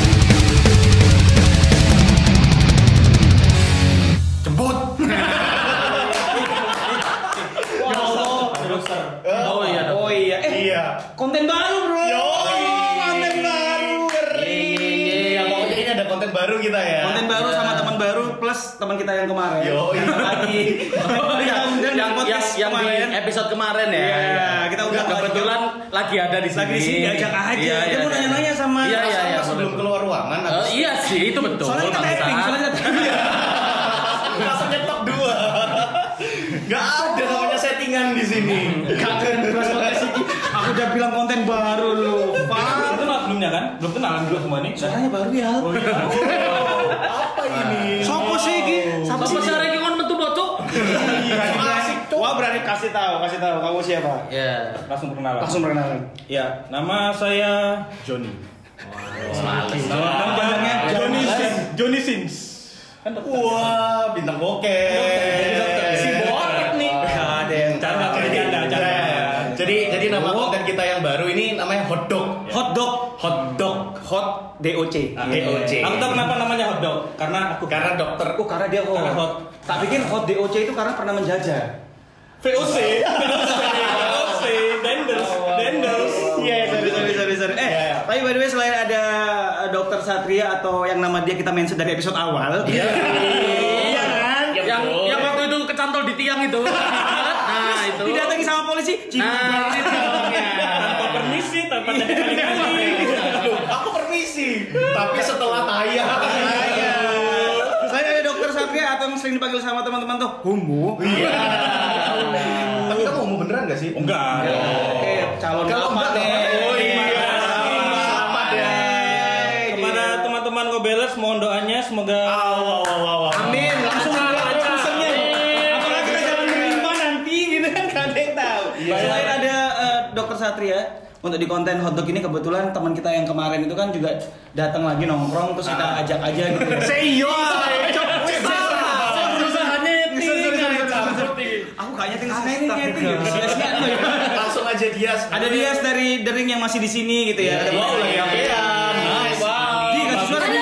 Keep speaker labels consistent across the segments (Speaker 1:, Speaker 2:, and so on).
Speaker 1: Ya Oh, iya. Eh, Konten baru bro.
Speaker 2: Iya. Yoi, konten baru keren.
Speaker 1: Iya, iya, iya.
Speaker 2: Yang pokoknya ini ada konten baru kita ya.
Speaker 1: Konten baru sama teman baru plus teman kita yang kemarin.
Speaker 2: Yoi.
Speaker 1: Lagi. yang
Speaker 3: Iya,
Speaker 1: yang,
Speaker 4: yang, yang,
Speaker 1: podcast
Speaker 4: yang di
Speaker 1: kemarin.
Speaker 4: episode kemarin ya.
Speaker 1: Iya,
Speaker 4: Iya.
Speaker 1: kita udah
Speaker 4: kebetulan lagi ada di sini.
Speaker 1: Lagi di sini, diajak aja.
Speaker 4: Iya,
Speaker 1: Dia
Speaker 4: iya,
Speaker 1: mau
Speaker 4: iya.
Speaker 1: nanya-nanya sama
Speaker 4: Iya, iya,
Speaker 1: sama
Speaker 4: iya.
Speaker 2: sebelum
Speaker 4: boleh.
Speaker 2: keluar ruangan
Speaker 4: Eh,
Speaker 2: habis
Speaker 4: iya sih, itu betul.
Speaker 1: soalnya kita
Speaker 4: bangsat.
Speaker 1: tapping, soalnya Iya. kita tapping.
Speaker 2: langsung nyetok dua. Gak ada namanya settingan di sini.
Speaker 1: Kangen plus podcast ini. Aku udah bilang konten baru lu. Pak.
Speaker 5: Itu kenal sebelumnya kan? Belum kenalan dulu semua nih.
Speaker 1: Caranya baru ya.
Speaker 2: Apa ini?
Speaker 1: Sopo sih iki? Sopo
Speaker 4: Bapak
Speaker 1: sih?
Speaker 4: sekarang ini kan metu bocok.
Speaker 2: Asik tuh.
Speaker 5: Wah berani kasih tahu, kasih tahu kamu siapa?
Speaker 4: Iya.
Speaker 5: Langsung perkenalan.
Speaker 1: Langsung perkenalan.
Speaker 5: Ya, nama saya Johnny.
Speaker 4: Males.
Speaker 5: Nama
Speaker 1: panjangnya
Speaker 5: Johnny
Speaker 1: Johnny.
Speaker 5: Sins. Johnny Sins. Kan dokter.
Speaker 2: Wah, bintang bokeh.
Speaker 5: Si botak nih.
Speaker 1: Ada yang
Speaker 5: Canda, canda, canda.
Speaker 2: Iya. Jadi jadi nama konten kita yang baru ini namanya hotdog.
Speaker 1: hot dog.
Speaker 2: Hotdog, Nah, hot
Speaker 1: DOC.
Speaker 2: DOC.
Speaker 5: Aku tahu kenapa namanya hotdog karena aku
Speaker 2: Karena dokter
Speaker 1: Oh karena dia hot.
Speaker 5: Karena hot.
Speaker 1: Tak bikin hot DOC itu karena pernah menjajah.
Speaker 5: VOC, VOC, Denders, Denders.
Speaker 1: Iya, sorry, sorry, sorry, sorry. Eh,
Speaker 2: Iya, iya.
Speaker 1: tapi by the way selain ada eh, Dokter Satria atau yang nama dia kita mention dari episode awal. Iya. Iya kan?
Speaker 4: Yang yang waktu itu kecantol di tiang itu. Nah, itu.
Speaker 1: Didatangi sama polisi.
Speaker 4: Nah,
Speaker 1: Cibubur.
Speaker 4: itu orangnya.
Speaker 5: Tanpa permisi, tanpa tanda
Speaker 4: Iya.
Speaker 5: kali-kali.
Speaker 2: Loh, aku permisi, tapi setelah tayang.
Speaker 1: Iya. Selain ada Dokter Satria atau yang sering dipanggil sama teman-teman tuh Humu.
Speaker 2: Iya. Tapi kamu mau beneran gak sih?
Speaker 5: Enggak.
Speaker 1: Eh, calon
Speaker 2: Oh. Kalau
Speaker 1: apa
Speaker 2: enggak,
Speaker 1: nih?
Speaker 2: kalau- Oh, iya.
Speaker 1: Calon apa
Speaker 2: Selamat ya.
Speaker 1: nih?
Speaker 5: Kepada teman-teman Gobelers mohon doanya semoga
Speaker 2: Wow, wow, wow, wow, wow.
Speaker 1: Amin, langsung lancar
Speaker 4: Iya.
Speaker 1: pesennya. Apalagi kita jangan menerima nanti gitu kan gak ada yang tahu.
Speaker 4: Iya,
Speaker 1: Selain ada eh, Dokter Satria untuk di konten hotdog ini kebetulan teman kita yang kemarin itu kan juga datang lagi nongkrong terus kita
Speaker 4: Ah.
Speaker 1: ajak aja gitu.
Speaker 4: iya,
Speaker 2: Seyo.
Speaker 4: Perusahaannya
Speaker 1: Aku kayaknya tinggal ini nyeting gitu. Sia-sia tuh ya.
Speaker 2: Langsung aja dia.
Speaker 1: Ada Dias dari Dering yang masih di sini gitu
Speaker 4: Iya,
Speaker 1: ya. Ada
Speaker 2: Wow,
Speaker 1: Bang
Speaker 2: lagi
Speaker 1: Dering.
Speaker 2: apean. Nice.
Speaker 1: Di kasih suara Di.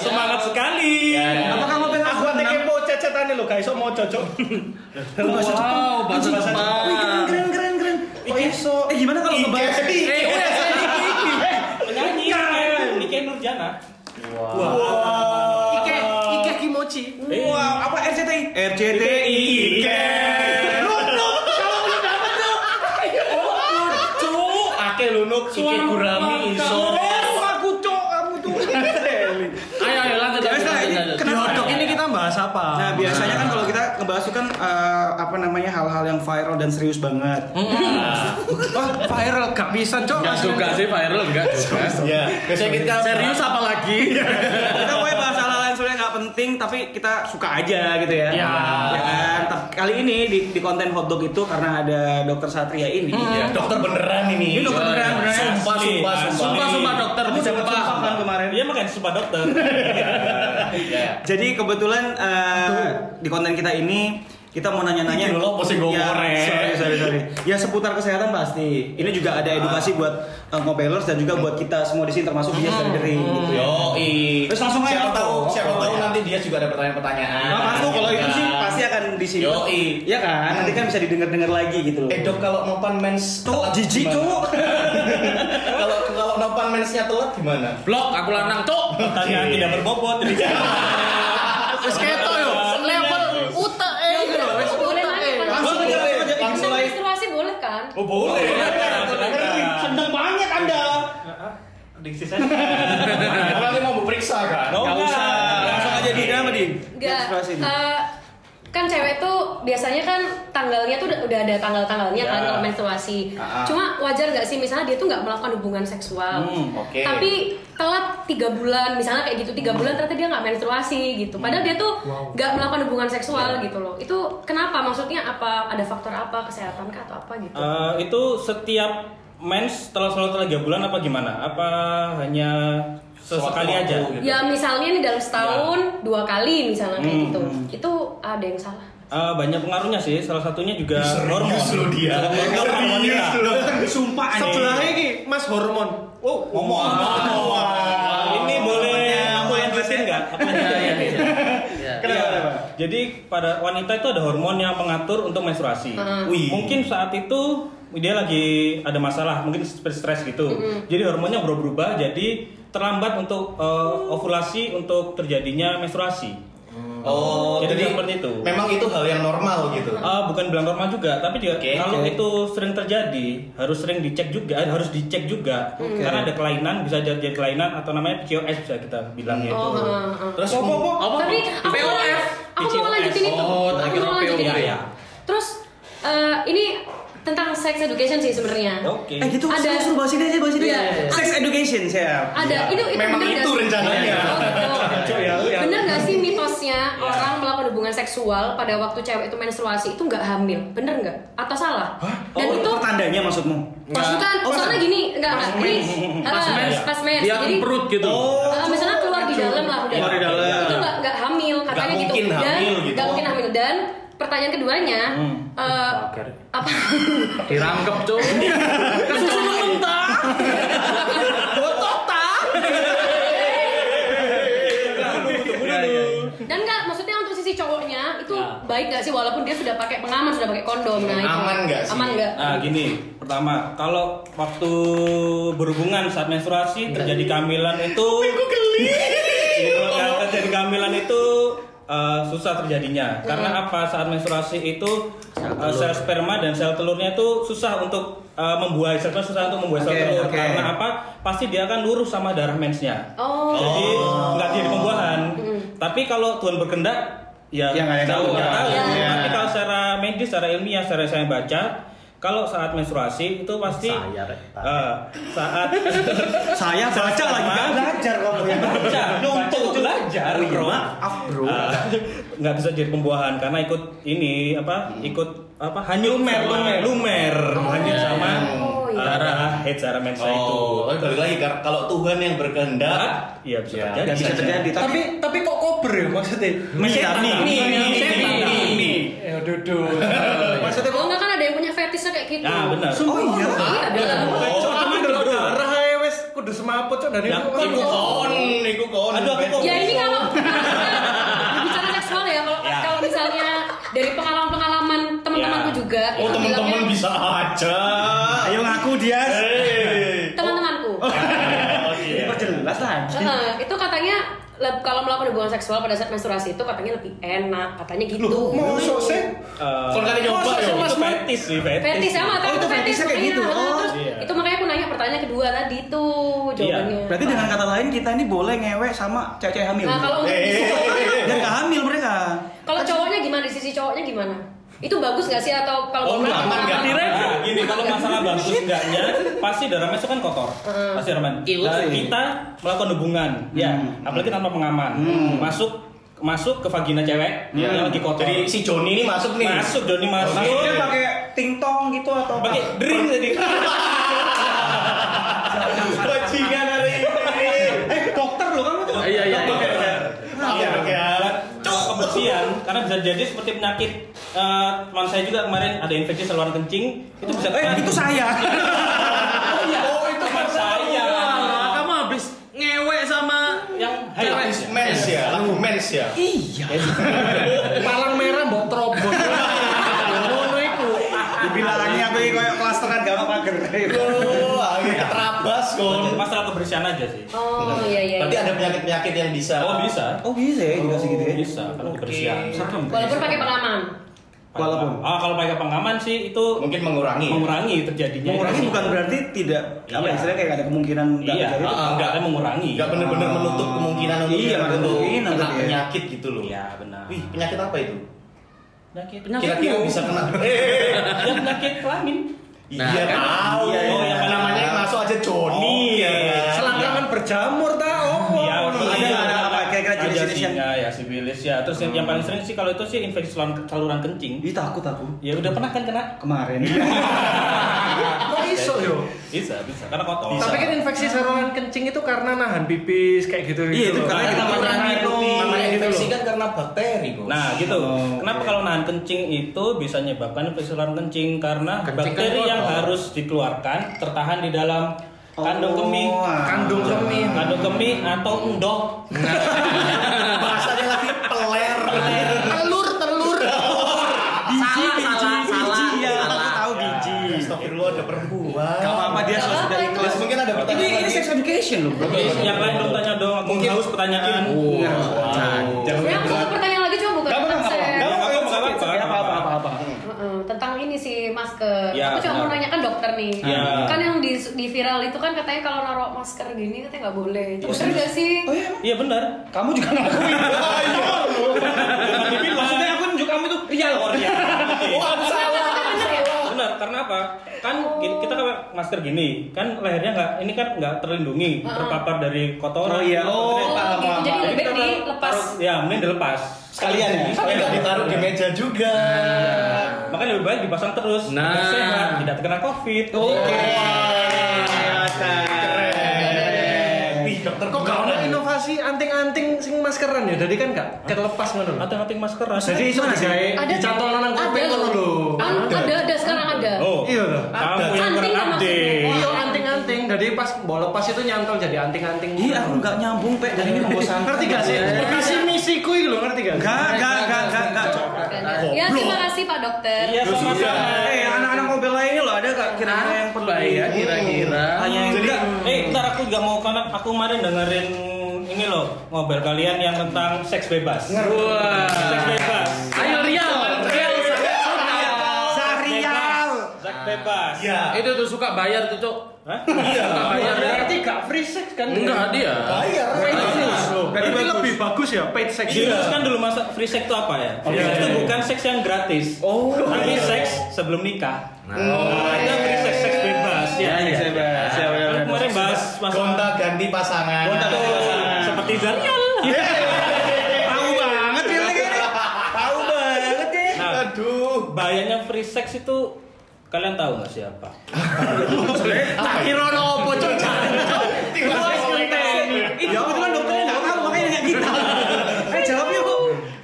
Speaker 5: semangat sekali.
Speaker 2: Iya,
Speaker 1: Apa kamu pengen aku
Speaker 2: Aku kepo cecetannya lo guys, so mau cocok.
Speaker 4: Wow, bahasa
Speaker 1: Wih, keren
Speaker 4: Jepang.
Speaker 1: keren keren keren. Oh, iso. Eh gimana kalau ngebahas?
Speaker 2: Ike.
Speaker 4: Eh, udah saya dikiki.
Speaker 6: Iya,
Speaker 5: Penyanyi Ike- Ike Nurjana.
Speaker 2: Wow.
Speaker 4: Ike, Ike Kimochi.
Speaker 1: Wah, apa RCTI? RCTI.
Speaker 2: Ike. Ake lunuk, Ike gurami, iso.
Speaker 1: Oh, aku cok kamu tuh.
Speaker 4: Ayo, ayo lanjut. lanjut,
Speaker 1: Ya, Sla,
Speaker 4: lanjut,
Speaker 1: ini
Speaker 4: lanjut.
Speaker 1: kenapa? Di hotdog ini
Speaker 2: kita bahas apa?
Speaker 1: Nah, biasanya kan kalau kita ngebahas itu kan eh, apa namanya hal-hal yang viral dan serius banget.
Speaker 2: Wah, viral gak bisa, Cok.
Speaker 4: Enggak juga sih viral enggak juga.
Speaker 2: Ya, biasanya kita
Speaker 4: Serius apa lagi?
Speaker 1: kita pokoknya bahas hal-hal yang sebenarnya nggak penting tapi kita suka aja gitu ya.
Speaker 4: Iya.
Speaker 1: Ya kan? Tapi Kali ini di, di konten hotdog itu karena ada Dokter Satria ini.
Speaker 2: Ya, dokter beneran ini.
Speaker 1: Ini dokter beneran, beneran.
Speaker 2: Sumpah, sumpah,
Speaker 5: Asli.
Speaker 2: sumpah.
Speaker 4: Sumpah sumpah dokter
Speaker 1: Kamu
Speaker 4: bisa
Speaker 1: dapat
Speaker 4: pak.
Speaker 1: sumpah kan kemarin.
Speaker 5: Dia makan sumpah dokter.
Speaker 1: Iya. Jadi kebetulan eh, di konten kita ini kita mau nanya-nanya.
Speaker 2: Ini lo apa sih, gue
Speaker 1: ya,
Speaker 2: ngorek.
Speaker 1: sorry, sorry, sorry. Ya seputar kesehatan pasti. Ini juga ada edukasi buat eh, ngobelers dan juga buat kita semua di sini termasuk dia dari dari gitu ya.
Speaker 2: Yoi.
Speaker 1: Terus langsung aja.
Speaker 2: siapa tahu,
Speaker 1: Oh,
Speaker 2: siapa
Speaker 1: oh,
Speaker 2: tahu
Speaker 1: iya.
Speaker 2: nanti dia juga ada pertanyaan-pertanyaan.
Speaker 1: Nah, pasti kalau itu sih pasti akan di sini.
Speaker 2: Yoi.
Speaker 1: Iya kan? Nanti kan bisa didengar-dengar lagi gitu loh.
Speaker 2: Eh dok kalau nopan mens
Speaker 1: Tuh,
Speaker 2: telat
Speaker 1: jijik
Speaker 2: gimana?
Speaker 1: tuh.
Speaker 2: Kalau kalau nopan mensnya telat gimana? Iya.
Speaker 4: Blok aku lanang cok.
Speaker 5: Pertanyaan tidak berbobot.
Speaker 4: Wes ketok yo. Level uta eh.
Speaker 5: iya.
Speaker 6: boleh nanya kalau
Speaker 1: Langsung aja, langsung aja.
Speaker 6: Langsung
Speaker 1: Mulai.
Speaker 6: menstruasi boleh kan?
Speaker 5: Oh boleh.
Speaker 1: Seneng banget Anda.
Speaker 5: Diksi saya.
Speaker 2: Nanti mau diperiksa kan?
Speaker 5: No.
Speaker 1: Enggak
Speaker 5: Enggak.
Speaker 1: usah. Langsung aja di dalam di.
Speaker 6: Enggak.
Speaker 1: Menstruasi, Di.
Speaker 6: Eh, kan cewek tuh biasanya kan tanggalnya tuh udah ada tanggal-tanggalnya kan
Speaker 5: Ya.
Speaker 6: kalau menstruasi.
Speaker 2: Ah.
Speaker 6: Cuma wajar nggak sih misalnya dia tuh nggak melakukan hubungan seksual,
Speaker 2: Hmm, oke. Hmm.
Speaker 6: tapi telat tiga bulan misalnya kayak gitu tiga bulan ternyata dia nggak menstruasi gitu. Padahal dia tuh nggak melakukan hubungan
Speaker 2: Ya.
Speaker 6: seksual gitu loh. Itu kenapa? Maksudnya apa? Ada faktor apa kesehatan kah atau apa gitu?
Speaker 2: Ah.
Speaker 5: Eh, itu setiap mens setelah selalu tiga bulan apa gimana? Apa hanya sesekali
Speaker 2: Suatu
Speaker 5: aja?
Speaker 2: waktu gitu.
Speaker 6: Ya misalnya nih dalam setahun
Speaker 2: Ya.
Speaker 6: dua kali misalnya
Speaker 2: Hmm,
Speaker 6: kayak gitu, itu ada yang salah.
Speaker 5: Eh, banyak pengaruhnya sih. Salah satunya juga
Speaker 2: Serius lo
Speaker 5: hormon.
Speaker 2: dia.
Speaker 5: Salah satunya hormon wanita.
Speaker 2: lo.
Speaker 1: Sumpah anjing.
Speaker 2: Sebelahnya ini Mas hormon. Oh, ngomong.
Speaker 5: Nah, Ini boleh aku lanjutin nggak? Apa yang
Speaker 4: Iya, iya,
Speaker 5: jadi?
Speaker 4: iya. Iya.
Speaker 5: Iya. Jadi pada wanita itu ada hormon yang mengatur untuk menstruasi.
Speaker 6: Heeh.
Speaker 5: Mungkin saat itu dia lagi ada masalah, mungkin seperti stres gitu. Jadi hormonnya berubah-ubah jadi terlambat untuk eh, ovulasi untuk terjadinya menstruasi.
Speaker 2: Oh,
Speaker 5: Jadi
Speaker 2: jadi,
Speaker 5: seperti itu.
Speaker 2: memang itu hal yang normal gitu.
Speaker 5: Ah, bukan bilang normal juga, tapi juga
Speaker 2: Oke,
Speaker 5: kalau
Speaker 2: oke.
Speaker 5: itu sering terjadi harus sering dicek juga, eh, harus dicek juga karena ada kelainan bisa jadi jadi kelainan atau namanya PCOS bisa kita bilang gitu. itu.
Speaker 6: Oh, heeh, heeh.
Speaker 2: Terus apa apa?
Speaker 6: Tapi aku mau, aku mau
Speaker 5: PCOS.
Speaker 6: lanjutin itu.
Speaker 2: Oh,
Speaker 6: aku
Speaker 2: akhirnya
Speaker 6: mau lanjutin
Speaker 2: PO,
Speaker 6: itu.
Speaker 2: ya.
Speaker 6: Terus eh, ini tentang sex education sih sebenarnya.
Speaker 5: Oke.
Speaker 1: Eh gitu, ada
Speaker 6: Ada-
Speaker 1: suruh bahas ini aja, bahas ini
Speaker 6: Iya.
Speaker 1: aja. Sex education siap.
Speaker 6: Ada Ya,
Speaker 2: Iya.
Speaker 6: itu itu
Speaker 2: Memang
Speaker 6: bener nggak
Speaker 2: itu
Speaker 6: sih?
Speaker 2: rencananya.
Speaker 6: Oh, gitu.
Speaker 1: Kacau ya, lu ya.
Speaker 6: Bener gak sih mitosnya orang melakukan hubungan seksual pada waktu cewek itu menstruasi itu nggak hamil? Bener nggak? Atau salah? Dan
Speaker 1: oh,
Speaker 6: itu
Speaker 1: tandanya maksudmu?
Speaker 6: pas bukan,
Speaker 1: Oh,
Speaker 6: soalnya
Speaker 1: pas-
Speaker 6: gini, enggak enggak. Ini eh, pas mens,
Speaker 4: Dia
Speaker 6: Jadi
Speaker 4: perut gitu.
Speaker 7: Oh.
Speaker 6: eh, misalnya keluar di dalam lah udah.
Speaker 1: Keluar di dalam.
Speaker 6: Itu nggak nggak hamil katanya
Speaker 2: Nggak
Speaker 6: gitu.
Speaker 2: mungkin
Speaker 6: Dan
Speaker 2: hamil gitu.
Speaker 6: nggak mungkin hamil dan pertanyaan keduanya eh, apa
Speaker 4: Dirangkep tuh. Kesusu mentah. Botok tah.
Speaker 5: Iya,
Speaker 6: dan nggak maksudnya untuk sisi cowoknya itu baik nggak sih walaupun dia sudah pakai pengaman sudah pakai kondom nah itu
Speaker 2: Aman nggak sih?
Speaker 6: aman nggak
Speaker 1: Ah,
Speaker 5: Nah gini, pertama kalau waktu berhubungan saat menstruasi
Speaker 6: Iya.
Speaker 5: terjadi kehamilan itu
Speaker 6: Oh,
Speaker 1: Iya.
Speaker 5: Jadi kalau nggak terjadi kehamilan itu eh, susah
Speaker 6: Iya.
Speaker 5: terjadinya karena apa saat menstruasi itu eh, sel sperma dan sel telurnya itu susah untuk eh, membuahi sel sperma susah untuk membuahi sel
Speaker 1: Oke,
Speaker 5: telur
Speaker 1: oke.
Speaker 5: karena apa pasti dia akan lurus sama darah mensnya
Speaker 6: oh
Speaker 5: jadi nggak jadi pembuahan tapi kalau Tuhan berkendak ya
Speaker 1: Ya, nggak ada yang tahu. Iya.
Speaker 5: nggak tahu.
Speaker 6: Ya.
Speaker 5: tapi kalau secara medis secara ilmiah secara saya baca kalau saat menstruasi itu pasti eh, saat
Speaker 1: Saya baca lagi kan belajar kamu ya.
Speaker 5: baca
Speaker 1: Numpuk
Speaker 5: Baca, belajar
Speaker 1: Oh iya,
Speaker 5: bro
Speaker 1: maaf bro.
Speaker 5: Eh, nggak bisa jadi pembuahan karena ikut ini apa ikut apa Hmm. hanyut lumer lumer, lumer. hanyut sama Ah.
Speaker 6: Oh, iya.
Speaker 5: darah head darah mensa itu
Speaker 2: Oh, tapi balik lagi kar- kalau Tuhan yang
Speaker 5: Nah,
Speaker 2: berkehendak.
Speaker 5: iya bisa
Speaker 2: Ya,
Speaker 5: terjadi
Speaker 1: Gak bisa terjadi tapi
Speaker 7: Tapi tapi kok kober ya maksudnya?
Speaker 1: Mie, mie,
Speaker 5: mie,
Speaker 7: Ini
Speaker 5: mie,
Speaker 7: ini
Speaker 5: mie,
Speaker 7: ini
Speaker 5: mie.
Speaker 7: ini. Eh duduk.
Speaker 6: maksudnya oh nggak kan ada yang punya fetishnya kayak gitu
Speaker 5: Nah, benar.
Speaker 1: Oh iya.
Speaker 6: Iya, ada.
Speaker 7: Cok, cuman delok darah ae wes kudu semaput cok dan ini.
Speaker 5: Ya,
Speaker 7: kok-
Speaker 5: iku
Speaker 2: Kon, iku kon.
Speaker 5: Aduh, aku kok-
Speaker 6: Ya ini kalau bicara seksual ya kalau kalau misalnya dari pengalaman-pengalaman teman-temanku
Speaker 5: Ya.
Speaker 6: juga
Speaker 2: Oh,
Speaker 6: itu
Speaker 2: teman-teman
Speaker 6: bilangnya,
Speaker 2: bisa aja.
Speaker 1: Ayo ngaku dia.
Speaker 2: Hei.
Speaker 6: teman-temanku
Speaker 2: Oh, iya.
Speaker 1: Perjelas lah.
Speaker 6: Heeh, itu katanya le- kalau melakukan hubungan seksual pada saat menstruasi itu katanya lebih enak katanya gitu
Speaker 7: Mau sok sih?
Speaker 5: Eh,
Speaker 2: Kon kali nyoba
Speaker 5: Masa
Speaker 2: ya.
Speaker 5: sih, Mas? fetis sih, fetis.
Speaker 6: fetish sama
Speaker 1: Oh, itu fetishnya kayak gitu. Oh.
Speaker 6: terus
Speaker 5: Iya.
Speaker 6: itu makanya aku nanya pertanyaan kedua tadi tuh jawabannya
Speaker 1: Berarti dengan kata gitu. lain kita ini boleh ngewek sama cewek-cewek hamil.
Speaker 6: nah kalau untuk
Speaker 2: Hei.
Speaker 1: Dan gak hamil mereka.
Speaker 6: kalau cowoknya gimana di sisi cowoknya gimana itu bagus gak sih atau
Speaker 2: Oh,
Speaker 6: kalau menurut
Speaker 2: aman
Speaker 6: aku
Speaker 2: nggak?
Speaker 6: aman.
Speaker 5: Nah, gini kalau masalah bagus enggaknya pasti darah mesok kan kotor. Pasti darah men-
Speaker 4: Iya,
Speaker 5: Dan
Speaker 4: sih.
Speaker 5: kita melakukan hubungan, ya, apalagi tanpa pengaman. Masuk masuk ke vagina cewek yang lagi kotor.
Speaker 2: Jadi si Joni ini masuk nih.
Speaker 5: masuk Doni masuk.
Speaker 1: Maksudnya pakai tingtong gitu atau
Speaker 5: pakai drink tadi.
Speaker 2: Bajingan hari ini.
Speaker 1: Eh dokter loh kamu tuh.
Speaker 4: Iya iya. iya.
Speaker 2: Iya, iya.
Speaker 5: Cowok kebersihan karena bisa jadi seperti penyakit eh, teman saya juga kemarin ada infeksi saluran kencing itu bisa
Speaker 1: Eh itu saya.
Speaker 5: oh itu teman saya
Speaker 4: Walah, kamu habis ngewek sama
Speaker 5: yang
Speaker 4: Cewek.
Speaker 2: Mens ya, lagu mens ya.
Speaker 1: Iya.
Speaker 4: palang merah mbok terobos. Ngono iku.
Speaker 1: Dibilangnya aku ini kayak klasteran gak apa pager.
Speaker 2: Oh, akhirnya keterabas kon.
Speaker 5: masalah kebersihan aja sih
Speaker 6: oh iya iya
Speaker 2: Berarti
Speaker 6: iya.
Speaker 2: ada penyakit-penyakit yang bisa.
Speaker 5: oh bisa
Speaker 1: Oh bisa ya dikasih gitu ya.
Speaker 5: bisa karena kebersihan serem
Speaker 6: walaupun pakai pengaman
Speaker 1: Walaupun.
Speaker 5: ah kalau pakai pengaman sih itu
Speaker 2: Mungkin mengurangi. ya?
Speaker 5: mengurangi terjadinya
Speaker 1: Mengurangi
Speaker 5: infeksi.
Speaker 1: bukan berarti tidak apa
Speaker 5: Iya.
Speaker 1: istilahnya kayak gak ada kemungkinan gak
Speaker 5: iya
Speaker 1: terjadi.
Speaker 5: ah, enggak kan mengurangi
Speaker 2: Gak bener-bener menutup kemungkinan untuk
Speaker 1: Iya, nggak ada
Speaker 2: untuk
Speaker 1: kemungkinan
Speaker 2: kena
Speaker 1: tadi ya.
Speaker 2: penyakit gitu loh.
Speaker 5: iya benar
Speaker 2: Wih, penyakit apa itu?
Speaker 5: penyakit
Speaker 2: Kira-kira bisa kena. Eh,
Speaker 5: ya penyakit kelamin
Speaker 4: Nah,
Speaker 2: iya
Speaker 4: kan.
Speaker 2: tahu.
Speaker 1: Iya, iya.
Speaker 2: Oh, yang namanya yang masuk aja ya kan? Joni.
Speaker 5: Oh, iya.
Speaker 7: Selangkangan berjamur ta opo?
Speaker 5: Iya,
Speaker 1: ada- ada apa? Kira-kira jenis-jenis yang-
Speaker 5: ya, ya sipilis ya. Terus yang- yang paling sering sih kalau itu sih infeksi saluran, saluran kencing.
Speaker 1: Ih takut aku
Speaker 5: Ya udah pernah kan kena?
Speaker 1: kemarin.
Speaker 7: Kok iso yo?
Speaker 5: Bisa, bisa. Karena kotor.
Speaker 2: Bisa.
Speaker 7: Tapi kan infeksi saluran kencing itu karena nahan pipis kayak gitu.
Speaker 1: Iya, itu karena kita
Speaker 7: namanya
Speaker 1: mengurangi
Speaker 2: Namanya infeksi
Speaker 7: itu.
Speaker 2: kan karena bakteri, kok.
Speaker 5: Nah gitu.
Speaker 1: Oh,
Speaker 5: Kenapa
Speaker 1: oke.
Speaker 5: kalau nahan kencing itu bisa menyebabkan infeksi saluran kencing karena
Speaker 4: Kencing
Speaker 5: bakteri
Speaker 4: kan
Speaker 5: yang
Speaker 4: kotor.
Speaker 5: harus dikeluarkan tertahan di dalam kandung kemih,
Speaker 1: Oh, ah.
Speaker 7: Kandung kemih.
Speaker 5: kandung kemih atau endok.
Speaker 2: bahasanya lagi peler.
Speaker 4: Telur telur. Salah salah salah.
Speaker 1: ya aku
Speaker 4: salah.
Speaker 1: Iya. tahu biji.
Speaker 2: Astagfirullah ada perempuan.
Speaker 1: Gak apa-apa dia
Speaker 6: Gak
Speaker 1: sudah
Speaker 6: apa-apa,
Speaker 1: dari
Speaker 6: itu
Speaker 1: kelas.
Speaker 2: Mungkin ada
Speaker 1: Nah, Ini
Speaker 2: pertanyaan
Speaker 1: ini
Speaker 2: lagi.
Speaker 1: sex education loh bro.
Speaker 5: Please, yang lain dong tanya dong. Aku
Speaker 2: Mungkin-
Speaker 5: haus pertanyaan.
Speaker 2: Jangan
Speaker 6: Sebenarnya Ya, aku satu pertanyaan lagi cuma
Speaker 1: Gak
Speaker 6: bukan
Speaker 1: apa-apa,
Speaker 6: tentang
Speaker 1: gak
Speaker 6: seks.
Speaker 1: apa-apa, gak
Speaker 5: Gak apa-apa,
Speaker 1: apa-apa, apa
Speaker 5: gak apa-apa.
Speaker 1: apa apa
Speaker 6: Heeh, tentang ini sih masker.
Speaker 5: Ya,
Speaker 6: aku cuma mau
Speaker 5: benar.
Speaker 6: nanya kan dokter nih.
Speaker 5: Ya.
Speaker 6: Kan yang di, di viral itu kan katanya kalau naruh masker gini katanya nggak boleh. Itu
Speaker 1: Oh,
Speaker 6: bener
Speaker 1: serius?
Speaker 6: nggak sih?
Speaker 1: Oh iya, emang?
Speaker 5: Iya benar.
Speaker 1: kamu juga ngakuin. Maksudnya aku nunjuk kamu itu iya loh orangnya.
Speaker 6: Oh,
Speaker 2: Wah, salah.
Speaker 6: ya?
Speaker 5: Benar. Karena apa? Kan gini- kita pakai masker gini, kan lehernya nggak, ini kan nggak terlindungi,
Speaker 6: Ah.
Speaker 5: terpapar dari kotoran.
Speaker 1: Oh iya,
Speaker 6: Oh,
Speaker 1: oh paham
Speaker 6: gitu.
Speaker 1: paham.
Speaker 6: Jadi
Speaker 1: paham.
Speaker 6: lebih dilepas.
Speaker 5: Taruh- Ya, mending dilepas.
Speaker 1: Sekalian ya.
Speaker 2: Tapi nggak ditaruh di meja juga.
Speaker 5: Makanya lebih baik dipasang terus.
Speaker 7: Nah.
Speaker 5: Biar sehat, tidak terkena covid.
Speaker 1: Oke. Keren.
Speaker 2: Ih, dokter
Speaker 7: Kok gak
Speaker 1: Nah.
Speaker 7: ada inovasi anting-anting sing maskeran ya? Jadi kan gak kelepas ngono lho.
Speaker 5: Ating-ating masker.
Speaker 7: Jadi iso digawe dicantol nang kuping ngono lho.
Speaker 6: Kan ada ada sekarang ada.
Speaker 5: Oh,
Speaker 7: Iya lho.
Speaker 5: kamu yang
Speaker 6: Anting kan nggak
Speaker 5: berupdate.
Speaker 6: maksudnya?
Speaker 7: Iya anting-anting. Jadi pas mau lepas itu nyantol jadi anting-anting.
Speaker 1: Iya, aku nggak nyambung, Pek. Jadi ini membosankan.
Speaker 7: Ngerti gak sih? Visi misiku itu lho, ngerti gak?
Speaker 1: Gak, gak, gak, gak, gak.
Speaker 6: Ya terima kasih Pak Dokter.
Speaker 5: Iya, sama-sama.
Speaker 1: Eh, anak-anak mobil lainnya loh ada gak kira-kira yang perlu ya?
Speaker 7: kira-kira.
Speaker 1: Tanya
Speaker 3: Hmm.
Speaker 1: yang
Speaker 5: Jadi,
Speaker 1: enggak.
Speaker 5: eh, ntar aku juga mau kan aku kemarin dengerin ini loh ngobrol kalian yang tentang seks bebas.
Speaker 3: Nah.
Speaker 7: Wah.
Speaker 5: Seks bebas.
Speaker 7: Ayo Rial, Rial.
Speaker 1: Sarial.
Speaker 5: Seks bebas.
Speaker 2: Iya.
Speaker 3: Itu tuh suka bayar tuh, Cok.
Speaker 5: Hah?
Speaker 2: Iya.
Speaker 3: Suka bayar. ya.
Speaker 7: Berarti gak free sex kan?
Speaker 3: Enggak dia. Iya.
Speaker 2: Bayar.
Speaker 7: Berarti lebih bagus ya paid sex.
Speaker 5: Diluruskan Iya. kan dulu masa free sex itu apa ya? Free
Speaker 7: Iya,
Speaker 5: sex
Speaker 7: iya,
Speaker 5: itu
Speaker 7: iya.
Speaker 5: bukan seks yang gratis.
Speaker 7: Oh.
Speaker 5: Tapi seks sebelum nikah. Nah,
Speaker 2: Iya,
Speaker 5: itu free sex seks bebas ya.
Speaker 1: Iya, iya. Siapa
Speaker 5: Kan
Speaker 1: yang
Speaker 5: kemarin bahas masalah
Speaker 2: Gonta ganti pasangan.
Speaker 5: seperti Zarial.
Speaker 1: Tahu banget ya lagi ini. Tahu banget ya.
Speaker 5: Nah,
Speaker 2: Aduh.
Speaker 5: bahayanya free sex itu kalian tahu nggak siapa?
Speaker 7: Tak kira ono opo cok.
Speaker 1: iya. Ini kebetulan dokternya nggak tahu makanya nggak kita. Eh jawabnya kok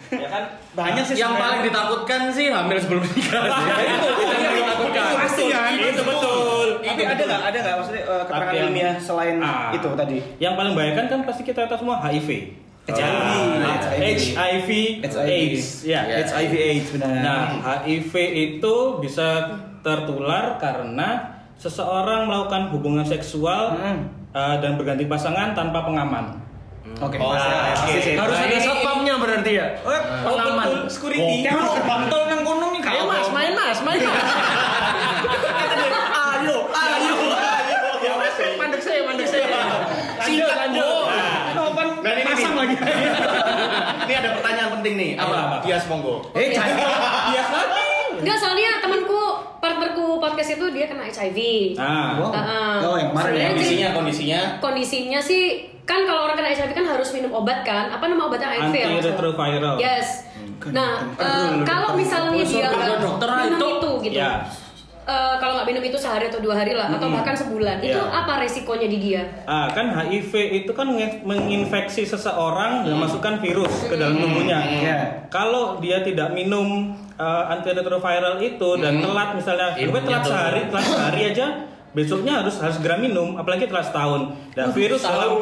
Speaker 5: Ya kan?
Speaker 1: banyak sih.
Speaker 3: Yang
Speaker 1: sebenarnya.
Speaker 3: paling ditakutkan sih hamil sebelum nikah. Itu yang ditakutkan.
Speaker 1: pasti kan.
Speaker 5: Itu betul.
Speaker 1: Tapi ada nggak ada nggak maksudnya eh, keterangan
Speaker 5: Tapi yang-
Speaker 1: ilmiah selain
Speaker 5: Ah.
Speaker 1: itu tadi?
Speaker 5: Yang paling bahaya kan kan pasti kita tahu semua HIV. Ah.
Speaker 1: HIV.
Speaker 5: HIV,
Speaker 1: It's HIV.
Speaker 5: AIDS. Ya.
Speaker 1: It's HIV AIDS benar.
Speaker 5: Nah, HIV itu bisa tertular karena seseorang melakukan hubungan seksual
Speaker 1: Hmm.
Speaker 5: eh, dan berganti pasangan tanpa pengaman.
Speaker 1: oke.
Speaker 2: Oh,
Speaker 1: pasti-
Speaker 2: oke.
Speaker 1: pasti sih.
Speaker 7: Harus ada satpamnya berarti ya.
Speaker 1: Eh,
Speaker 7: Pengaman.
Speaker 1: pengaman security.
Speaker 2: Bokep.
Speaker 1: Kalau bantol nang kono nih
Speaker 7: Ayo
Speaker 1: kalau.
Speaker 7: mas, main mas, main mas.
Speaker 1: Ayo, ayo.
Speaker 7: Mandek saya, mandek saya.
Speaker 3: Iya.
Speaker 7: Singkat lanjut.
Speaker 1: Nopan
Speaker 2: Dan ini
Speaker 1: pasang
Speaker 2: nih.
Speaker 1: lagi.
Speaker 2: Ini ada pertanyaan penting nih. Apa? Dias monggo.
Speaker 1: Eh, jangan.
Speaker 6: Enggak soalnya temanku partnerku podcast itu dia kena HIV.
Speaker 5: Nah,
Speaker 1: Wow.
Speaker 6: Heeh.
Speaker 1: Ah. Oh, yang kemarin ya.
Speaker 6: Ah, Sebenarnya
Speaker 2: Kondisinya,
Speaker 6: jadi-
Speaker 2: kondisinya.
Speaker 6: kondisinya sih kan kalau orang kena HIV kan harus minum obat kan apa nama obatnya HIV ya, Mas?
Speaker 5: Antiretroviral.
Speaker 6: yes
Speaker 1: Hmm.
Speaker 6: nah eh, kalau misalnya dia nggak
Speaker 3: dokter lah
Speaker 6: minum
Speaker 3: itu.
Speaker 6: itu gitu
Speaker 5: Ya.
Speaker 6: eh, kalau nggak minum itu sehari atau dua hari lah atau bahkan sebulan itu
Speaker 5: Ya.
Speaker 6: apa resikonya di dia
Speaker 5: Ah, kan HIV itu kan menge- menginfeksi seseorang
Speaker 3: Hmm.
Speaker 5: dan masukkan virus ke dalam tubuhnya. Ya.
Speaker 1: Iya.
Speaker 5: Kalau dia tidak minum eh, antiretroviral itu dan telat misalnya,
Speaker 3: Iya,
Speaker 5: gue telat
Speaker 3: betul.
Speaker 5: sehari, telat sehari aja, besoknya harus harus segera minum, apalagi telat setahun.
Speaker 3: Oh,
Speaker 5: Dan virus dalam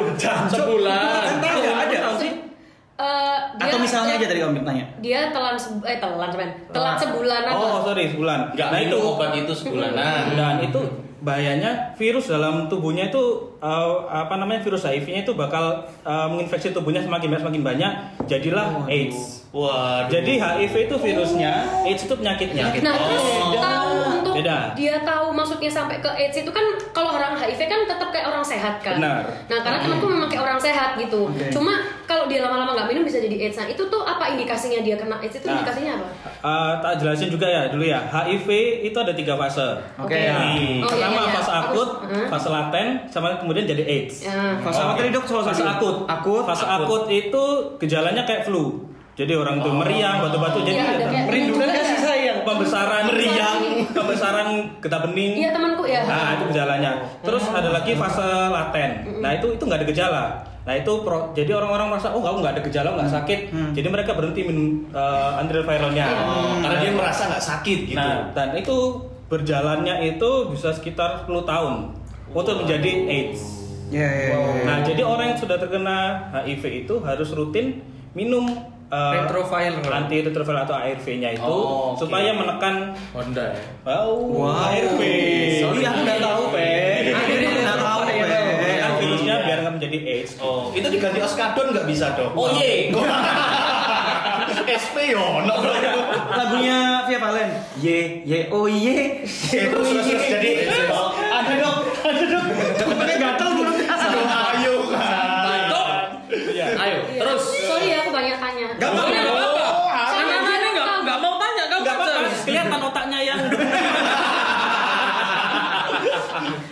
Speaker 3: Sebulan.
Speaker 1: Kan tahu nggak ada.
Speaker 6: Eh, dia-
Speaker 1: Atau misalnya aja tadi kamu Ah. tanya.
Speaker 6: dia telan sebu- eh telan teman telan sebulan atau
Speaker 5: Oh, sorry, sebulan.
Speaker 3: Enggak
Speaker 5: nah itu
Speaker 3: minum obat itu sebulanan.
Speaker 5: dan itu bahayanya virus dalam tubuhnya itu eh, apa namanya virus HIV-nya itu bakal eh, menginfeksi tubuhnya semakin banyak semakin banyak, jadilah AIDS.
Speaker 2: Wah,
Speaker 5: Jadi HIV itu virusnya, AIDS itu penyakitnya.
Speaker 6: Nah, terus tahu untuk
Speaker 5: Beda.
Speaker 6: dia tahu maksudnya sampai ke AIDS itu kan kalau orang HIV kan tetap kayak orang sehat kan.
Speaker 5: Benar. Iya.
Speaker 6: Nah, karena temanku memang kayak orang sehat gitu.
Speaker 1: Oke.
Speaker 6: Cuma kalau dia lama-lama nggak minum bisa jadi AIDS. Nah, itu tuh apa indikasinya dia kena AIDS itu
Speaker 5: Nah.
Speaker 6: indikasinya apa?
Speaker 5: Eh, tak jelasin juga ya dulu ya. HIV itu ada tiga fase.
Speaker 1: Oke.
Speaker 6: Oh,
Speaker 5: Nah,
Speaker 6: iya,
Speaker 5: pertama
Speaker 6: iya, iya.
Speaker 5: fase
Speaker 6: Aku-
Speaker 5: akut,
Speaker 6: Heeh.
Speaker 5: fase laten, sama kemudian jadi AIDS.
Speaker 6: Ya.
Speaker 1: Fase apa tadi, Dok? Soal
Speaker 5: Fase
Speaker 1: satu.
Speaker 5: akut.
Speaker 1: Akut.
Speaker 5: Fase akut. itu gejalanya kayak flu. Jadi orang tuh meriang, batu-batu jadi
Speaker 6: Oh. Iya, ada
Speaker 5: ada
Speaker 6: kayak juga
Speaker 7: Merindukan
Speaker 6: ya.
Speaker 7: kasih sayang.
Speaker 5: pembesaran
Speaker 6: Meriang.
Speaker 5: pembesaran getah bening.
Speaker 6: Iya, temanku ya.
Speaker 5: Nah, itu gejalanya. Terus ada lagi fase laten. Nah, itu itu nggak ada gejala. Nah, itu pro- jadi orang-orang merasa oh, aku nggak ada gejala, nggak sakit.
Speaker 3: Mm.
Speaker 5: Jadi mereka berhenti minum uh, antiretroviralnya.
Speaker 3: Oh,
Speaker 2: karena dia merasa nggak sakit gitu.
Speaker 5: Nah, dan itu berjalannya itu bisa sekitar 10 tahun untuk menjadi AIDS.
Speaker 1: Ya, ya, ya.
Speaker 3: Oh.
Speaker 5: Nah, jadi orang yang sudah terkena HIV itu harus rutin minum
Speaker 3: eh,
Speaker 5: uh,
Speaker 3: Retroviral.
Speaker 5: antiretroviral atau ARV-nya itu
Speaker 3: Oh, oke.
Speaker 5: supaya menekan
Speaker 3: Honda ya.
Speaker 5: Wow, ARV.
Speaker 1: Iya. Kan
Speaker 2: diganti oskadon nggak bisa dong.
Speaker 5: Oh iya.
Speaker 2: SP yo, no.
Speaker 1: Lagunya Via Valen. Ye ye oh ye.
Speaker 2: Itu sudah sudah jadi.
Speaker 1: Ada dok, ada dok. Cepetnya gatel belum
Speaker 2: Aduh, ayo kan.
Speaker 3: Stop. Iya. Ayo, terus.
Speaker 6: Sorry ya, aku banyak tanya.
Speaker 1: Gak apa-apa,
Speaker 6: Iya.
Speaker 1: gak apa-apa.
Speaker 2: Oh,
Speaker 5: Nah,
Speaker 6: Sama
Speaker 3: Ini
Speaker 6: Manu,
Speaker 3: nggak
Speaker 6: Kak.
Speaker 3: nggak mau tanya kamu
Speaker 5: Enggak apa-apa,
Speaker 3: aja.
Speaker 5: kelihatan otaknya yang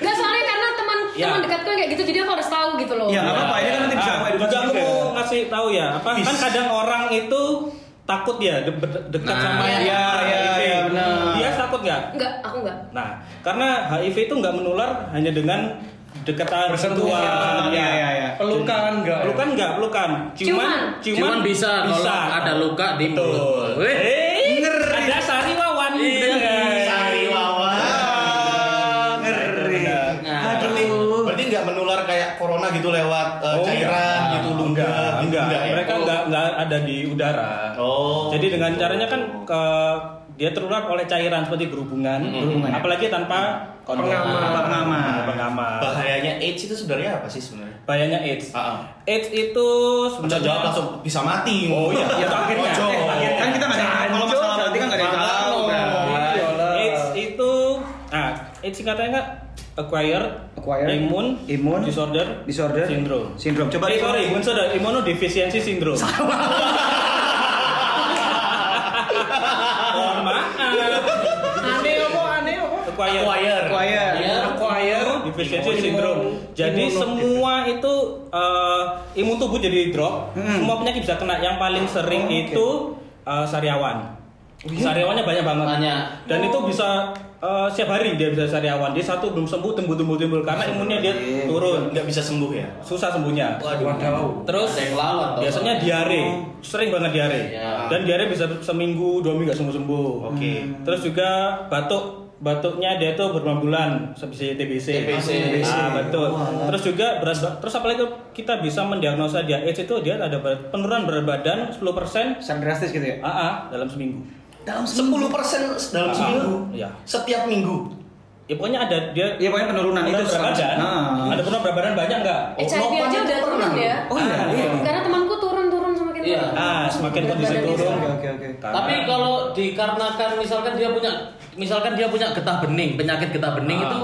Speaker 6: Gak soalnya karena teman
Speaker 5: Ya.
Speaker 6: teman dekatku yang kayak gitu jadi aku harus tahu gitu loh.
Speaker 1: Ya nggak apa-apa, ini kan nanti bisa
Speaker 5: Ah,
Speaker 1: aku edukasi
Speaker 5: juga aku
Speaker 1: juga.
Speaker 5: mau ngasih tahu ya apa kan kadang orang itu takut ya de- de- dekat
Speaker 3: Nah,
Speaker 5: sama yang
Speaker 1: iya, iya,
Speaker 5: HIV.
Speaker 1: iya, benar.
Speaker 5: dia takut nggak
Speaker 6: Enggak, aku enggak.
Speaker 5: nah karena HIV itu nggak menular hanya dengan dekatan
Speaker 7: Bersentuhan.
Speaker 5: sentuhan
Speaker 1: Iya iya iya.
Speaker 7: Pelukan enggak?
Speaker 5: pelukan nggak pelukan cuman
Speaker 6: Ciuman.
Speaker 3: Cuman bisa kalau ada luka di
Speaker 5: Betul.
Speaker 3: mulut. Weh.
Speaker 5: Eh,
Speaker 1: Ngeri.
Speaker 5: ada sariwawan
Speaker 2: Sari wawan.
Speaker 1: Ngeri.
Speaker 3: Nah.
Speaker 1: Aduh.
Speaker 2: Berarti nggak menular kayak corona gitu lewat eh,
Speaker 5: Oh,
Speaker 2: cairan
Speaker 5: enggak.
Speaker 2: gitu lu enggak,
Speaker 5: enggak,
Speaker 2: ya?
Speaker 5: mereka nggak nggak ada di udara
Speaker 2: Oh.
Speaker 5: Jadi dengan caranya kan ke dia terurat oleh cairan seperti berhubungan,
Speaker 1: Berhubungan, ya.
Speaker 5: apalagi tanpa kondom,
Speaker 1: Pengaman.
Speaker 5: Ada pengaman.
Speaker 2: bahayanya AIDS itu sebenarnya apa sih sebenarnya?
Speaker 5: Bahayanya AIDS.
Speaker 2: Heeh.
Speaker 5: AIDS itu
Speaker 2: Bisa
Speaker 5: sebenarnya
Speaker 2: jawab Ah. langsung bisa mati.
Speaker 5: Oh iya, iya,
Speaker 2: akhirnya.
Speaker 5: akhirnya.
Speaker 1: Eh, kan kita nggak ada yang tahu. kalau masalah nanti kan nggak ada yang tahu. Bray.
Speaker 5: AIDS itu ah AIDS singkatannya nggak acquired,
Speaker 1: Acquired,
Speaker 5: immune,
Speaker 1: immune,
Speaker 5: disorder,
Speaker 1: Disorder.
Speaker 5: syndrome.
Speaker 1: Sindrom. Coba
Speaker 5: Eh,
Speaker 1: di-
Speaker 5: sorry, immune disorder, immunodeficiency syndrome. Mohon maaf.
Speaker 7: Aneh apa? Aneh apa?
Speaker 5: Acquired.
Speaker 2: Choir.
Speaker 3: Iya.
Speaker 1: Choir.
Speaker 7: Choir.
Speaker 5: Deficiency syndrome. Jadi semua itu eh, imun tubuh jadi drop.
Speaker 1: Hmm.
Speaker 5: Semua penyakit bisa kena. Yang paling sering itu eh, sariawan. Sariawannya banyak banget.
Speaker 3: Banyak.
Speaker 5: Dan itu bisa eh, setiap hari dia bisa sariawan. Dia satu belum sembuh tumbuh-tumbuh timbul karena imunnya dia turun.
Speaker 2: Nggak bisa sembuh ya.
Speaker 5: Susah sembuhnya.
Speaker 7: Waduh.
Speaker 5: Terus
Speaker 3: Ada yang lawan tau.
Speaker 5: biasanya diare, sering banget diare.
Speaker 3: Oh. Iya.
Speaker 5: Dan diare bisa seminggu, dua minggu nggak sembuh-sembuh.
Speaker 2: Oke.
Speaker 5: Terus juga batuk batuknya dia tuh berbulan-bulan seperti TBC.
Speaker 3: TBC.
Speaker 5: Ah, betul. Terus juga beras ba- terus apalagi kita bisa mendiagnosa dia AIDS itu dia ada ber- penurunan berat badan 10%
Speaker 1: Sangat drastis gitu ya.
Speaker 5: AA dalam seminggu.
Speaker 2: Dalam 10 dalam
Speaker 5: Ah,
Speaker 2: seminggu.
Speaker 5: iya.
Speaker 2: Setiap minggu.
Speaker 5: Ya pokoknya ada dia
Speaker 1: Iya pokoknya penurunan itu.
Speaker 5: penurunan berat badan.
Speaker 1: Nah.
Speaker 5: Ada penurunan berat badan banyak nggak?
Speaker 6: HIV aja udah turun ya.
Speaker 1: Oh iya. iya.
Speaker 6: Karena temanku turun-turun semakin
Speaker 3: Iya.
Speaker 6: turun.
Speaker 5: Ah, semakin
Speaker 6: Berat
Speaker 5: kondisi
Speaker 6: badannya
Speaker 5: turun.
Speaker 6: sama.
Speaker 1: Oke oke.
Speaker 5: Karena-
Speaker 3: Tapi kalau dikarenakan misalkan dia punya misalkan dia punya getah bening, penyakit getah bening
Speaker 5: Ah.
Speaker 3: itu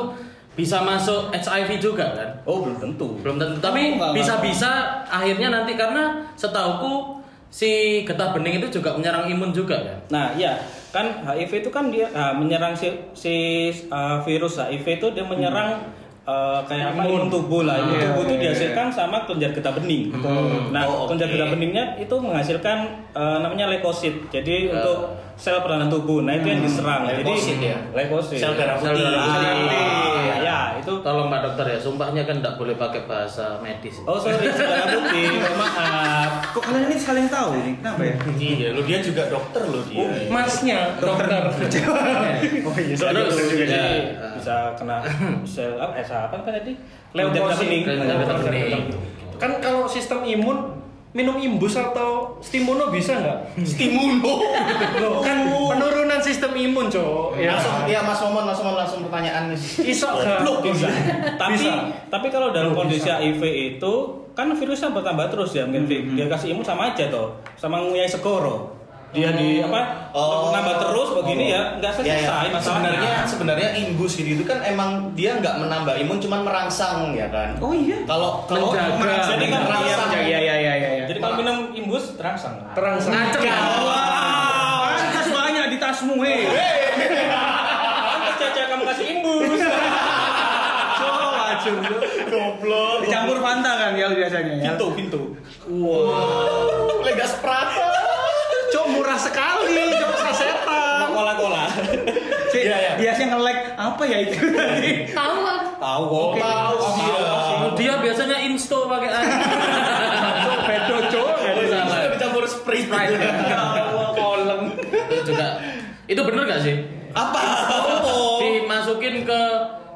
Speaker 3: bisa masuk HIV juga kan?
Speaker 5: oh belum tentu.
Speaker 3: Belum tentu. Tapi
Speaker 1: enggak, enggak.
Speaker 3: bisa-bisa akhirnya nanti karena setauku si getah bening itu juga menyerang imun juga kan?
Speaker 5: Nah, iya, kan HIV itu kan dia ah, menyerang si, si, ah, virus HIV itu dia menyerang eh, kayak apa imun tubuh lah. Imun
Speaker 1: Iya,
Speaker 5: tubuh itu
Speaker 1: iya,
Speaker 5: dihasilkan sama kelenjar getah bening. Nah, kelenjar getah beningnya itu menghasilkan eh, namanya leukosit. Jadi untuk sel pertahanan tubuh. Nah, itu yang diserang.
Speaker 2: Leukosit
Speaker 5: Jadi
Speaker 2: ya?
Speaker 5: leukosit.
Speaker 2: Sel darah putih. Iya.
Speaker 3: darah
Speaker 5: Ah,
Speaker 3: putih.
Speaker 5: ya, itu
Speaker 3: Tolong Pak Dokter ya, sumpahnya kan tidak boleh pakai bahasa medis.
Speaker 5: Oh, sorry, sel darah putih. ah, Mohon Maaf.
Speaker 1: Kok kalian ini sekalian tahu ini? Kenapa ya?
Speaker 2: Iya, lu dia juga dokter lo dia.
Speaker 5: Oh, iya.
Speaker 7: Masnya dokter.
Speaker 1: Oh iya.
Speaker 3: Terus,
Speaker 5: Jadi
Speaker 3: ya,
Speaker 5: bisa kena sel apa? Eh, apa tadi? Kelenjar getah
Speaker 7: Leukosit.
Speaker 5: bening.
Speaker 3: Kelenjar getah bening.
Speaker 7: Kan kalau sistem imun minum imbus atau stimuno bisa nggak?
Speaker 2: Stimulo.
Speaker 7: Loh, kan penurunan sistem imun, Cok. Ya.
Speaker 2: Langsung ya Mas Momon, Mas Momon langsung pertanyaan nih.
Speaker 7: Iso gak?
Speaker 2: Goblok,
Speaker 5: bisa. tapi
Speaker 7: Bisa.
Speaker 5: tapi kalau dalam kondisi HIV itu kan virusnya bertambah terus ya mungkin Vic. dia kasih imun sama aja toh sama nguyai sekoro dia di apa
Speaker 2: Oh.
Speaker 5: nambah terus begini ya nggak
Speaker 2: Ya, ya.
Speaker 5: selesai masalahnya
Speaker 2: Sebenarnya sebenarnya imbus gitu itu kan emang dia nggak menambah imun cuman merangsang ya kan.
Speaker 1: Oh iya.
Speaker 2: Kalau kalau
Speaker 1: Menjaga.
Speaker 2: jadi kan
Speaker 5: Menjaga.
Speaker 2: merangsang.
Speaker 1: Iya iya iya iya. iya.
Speaker 5: jadi kalau minum imbus terangsang
Speaker 7: Terang
Speaker 3: Ngaceng ya?
Speaker 1: Wow, tas banyak di tasmu eh. hei.
Speaker 5: Pantes caca kamu kasih imbus
Speaker 1: Cok, acur.
Speaker 2: Goblok.
Speaker 1: Dicampur Fanta kan ya biasanya ya.
Speaker 5: pintu pintu
Speaker 2: Wow. Legas Prata.
Speaker 7: Cok murah sekali, Cok sasetan.
Speaker 5: kola kola
Speaker 1: Si,
Speaker 2: Iya, iya.
Speaker 1: biasanya nge-lag apa ya itu tadi?
Speaker 6: Tahu nggak?
Speaker 5: tahu
Speaker 2: Oh, tahu sih.
Speaker 3: Dia biasanya insto pakai air.
Speaker 7: Cok bedo, Cok.
Speaker 2: Itu sudah dicampur spray.
Speaker 1: Kolem.
Speaker 3: Itu juga. Itu bener gak sih?
Speaker 2: Apa?
Speaker 3: Dimasukin ke